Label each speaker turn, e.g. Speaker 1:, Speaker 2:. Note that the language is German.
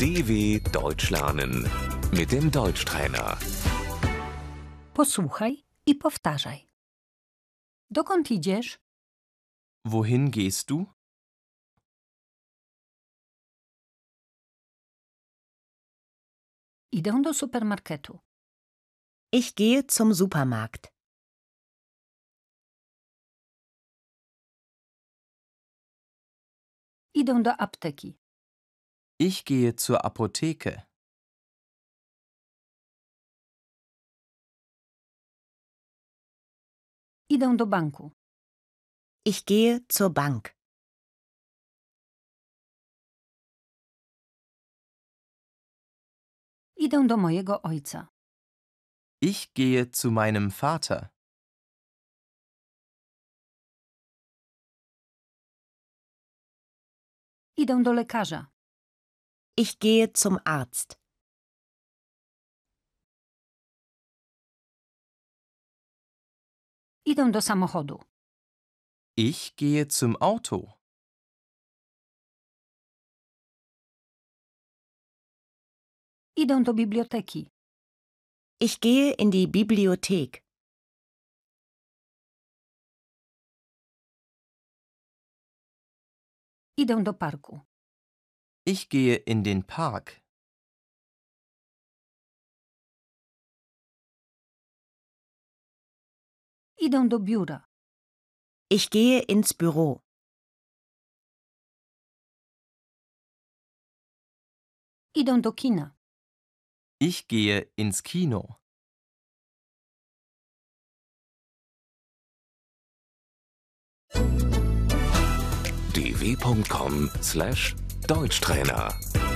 Speaker 1: DW Deutsch lernen mit dem Deutschtrainer.
Speaker 2: Posłuchaj i powtarzaj. Dokąd idziesz?
Speaker 3: Wohin gehst du?
Speaker 2: Idę do supermarketu.
Speaker 4: Ich gehe zum Supermarkt.
Speaker 2: Idę do apteki.
Speaker 3: Ich gehe zur Apotheke.
Speaker 2: Idę do banku.
Speaker 4: Ich gehe zur Bank.
Speaker 2: Idę do mojego ojca.
Speaker 3: Ich gehe zu meinem Vater.
Speaker 2: Idę do lekarza.
Speaker 4: Ich gehe zum Arzt.
Speaker 2: Idę do samochodu.
Speaker 3: Ich gehe zum Auto.
Speaker 2: Idę do biblioteki.
Speaker 4: Ich gehe in die Bibliothek.
Speaker 2: Idę do parku.
Speaker 3: Ich gehe in den Park.
Speaker 2: Idę do biura.
Speaker 4: Ich gehe ins Büro.
Speaker 2: Idę do kina.
Speaker 3: Ich gehe ins Kino.
Speaker 1: dw.com/deutschtrainer